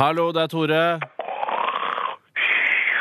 Hallo, det er Tore.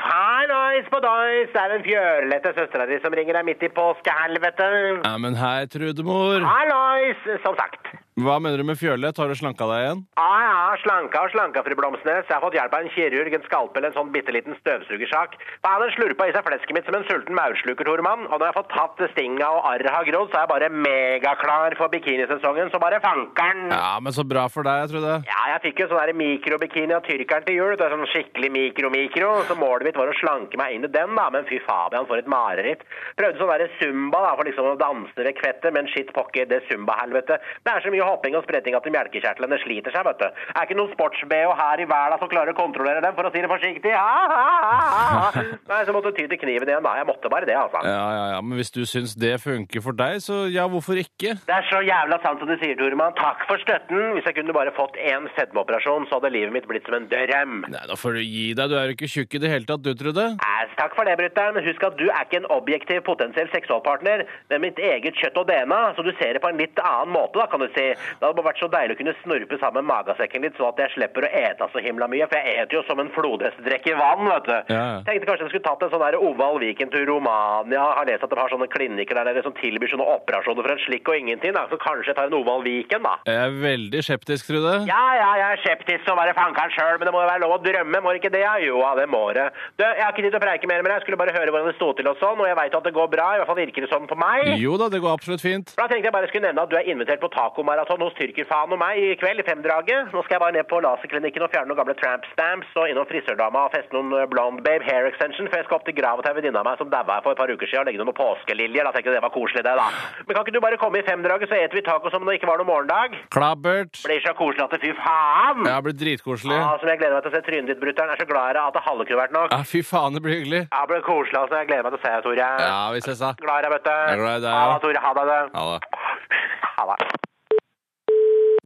Hallais på dais, det er den fjørlette søstera di som ringer deg midt i påskehelvete. Ja, men hei, Trudemor. Hallais, som sagt. Hva mener du med fjølet? Har du slanka deg igjen? Ja, ja, slanka og slanka, fru Blomsnes. Jeg har fått hjelp av en kirurg, en skalpel, en sånn bitte liten støvsugersak. Da hadde han slurpa i seg flesket mitt som en sulten maursluker, Tormann. Og når jeg har fått tatt stinga og arret har grodd, så er jeg bare megaklar for bikinisesongen, så bare fanker'n. Ja, men så bra for deg, Trude. Ja, jeg fikk jo sånn der mikrobikini av tyrkeren til jul. Det er sånn skikkelig mikro-mikro. Så målet mitt var å slanke meg inn i den, da. Men fy fabian, for et mareritt. Prøvde sånn derre zumba, da, for liksom å danse ved kvettet. Men shit pokker, det zumba-helvete. Det er så mye hopping og spretting at de melkekjertlene sliter seg, vet du. Er ikke noen sports-BH her i verden som klarer å kontrollere dem, for å si det forsiktig. Ha, ha, ha, ha. Nei, så måtte du ty til kniven igjen, da. Jeg måtte bare det, altså. Ja, ja, ja, men hvis du syns det funker for deg, så ja, hvorfor ikke? Det er så jævla sant som du sier, Toremann. Takk for støtten. Hvis jeg kunne bare fått én fedmeoperasjon, så hadde livet mitt blitt som en drøm. Nei, da får du gi deg. Du er jo ikke tjukk i det hele tatt, du, Trude. Æs, takk for det, brutter'n. Men Husk at du er ikke en objektiv potensiell seksualpartner, men mitt eget kjøtt og DNA, så du ser det på en litt annen måte, da, kan du si. Det hadde bare vært så deilig å kunne snurpe sammen magasekken litt, sånn at jeg slipper å ete så himla mye, for jeg eter jo som en flodhest drikker vann, vet du. Ja, ja. Tenkte kanskje jeg skulle tatt en sånn der Oval Viken til Romania. Har lest at de har sånne klinikker der nede som tilbyr sånne operasjoner for en slikk og ingenting, da. Så kanskje jeg tar en Oval Viken, da. Jeg er veldig skeptisk, Trude. Ja, ja, jeg er skeptisk til å være fankeren sjøl, men det må jo være lov å drømme, må det ikke det? ja? Jo, ja, det må det. Du, jeg har ikke tid til å preike mer med deg, jeg skulle bare høre hvordan det sto til og sånn, og jeg veit at det går bra, i hvert fall virker det sånn på meg. Jo da, det går absolutt fint. Da tenkte jeg bare skulle nevne at du er invitert på tacomaraton hos tyrkerfaen og meg i kveld, i femdraget. Nå skal jeg bare ned på laserklinikken og fjerne noen gamle tramp stamps, og innom frisørdama og feste noen eh, blonde babe hair extension, før jeg skal opp til grava til ei venninne av meg som daua for et par uker siden, og legge noen påskeliljer. Da tenkte jeg det var koselig, det, da. Men kan ikke du bare komme i femdraget, så eter vi taco som om det ikke var noen morgendag? Klabbert. Blir så koselig at det fy faen! Ja, det blir dritkoselig. Ja, som jeg gleder meg til å se trynet ditt, brutter'n. Jeg er så glad i deg at det halve kunne vært nok. Ja, fy faen, det blir hyggelig. Ja, det blir koselig, altså. Jeg gleder meg til å se deg, Tore. Ja, vi ses da. Glad i deg, vet du. er glad i deg, Ha ja. det, Tore. Ha det. Ha det. du. Ha det.